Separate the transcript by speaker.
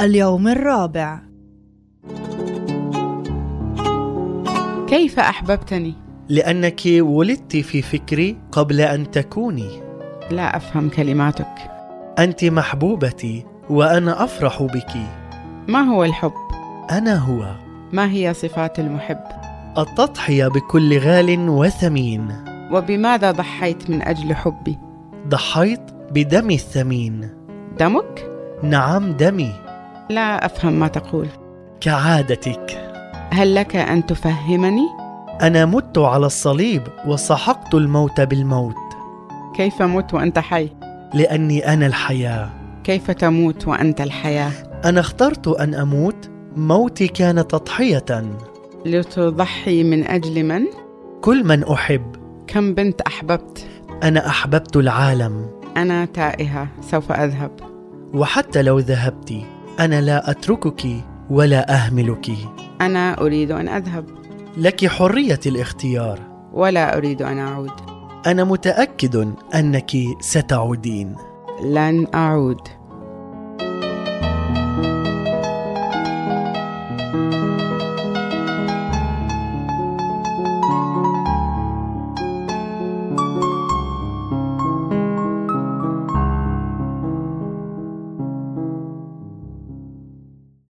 Speaker 1: اليوم الرابع
Speaker 2: كيف أحببتني؟
Speaker 3: لأنك ولدت في فكري قبل أن تكوني
Speaker 2: لا أفهم كلماتك
Speaker 3: أنت محبوبتي وأنا أفرح بك
Speaker 2: ما هو الحب؟
Speaker 3: أنا هو
Speaker 2: ما هي صفات المحب؟
Speaker 3: التضحية بكل غال وثمين
Speaker 2: وبماذا ضحيت من أجل حبي؟
Speaker 3: ضحيت بدمي الثمين
Speaker 2: دمك؟
Speaker 3: نعم دمي
Speaker 2: لا أفهم ما تقول
Speaker 3: كعادتك
Speaker 2: هل لك أن تفهمني؟
Speaker 3: أنا مت على الصليب وسحقت الموت بالموت
Speaker 2: كيف مت وأنت حي؟
Speaker 3: لأني أنا الحياة
Speaker 2: كيف تموت وأنت الحياة؟
Speaker 3: أنا اخترت أن أموت موتي كان تضحية
Speaker 2: لتضحي من أجل من؟
Speaker 3: كل من أحب
Speaker 2: كم بنت أحببت؟
Speaker 3: أنا أحببت العالم
Speaker 2: أنا تائهة سوف أذهب
Speaker 3: وحتى لو ذهبت أنا لا أتركك ولا أهملك
Speaker 2: أنا أريد أن أذهب
Speaker 3: لك حرية الاختيار
Speaker 2: ولا أريد أن أعود
Speaker 3: أنا متأكد أنك ستعودين
Speaker 2: لن أعود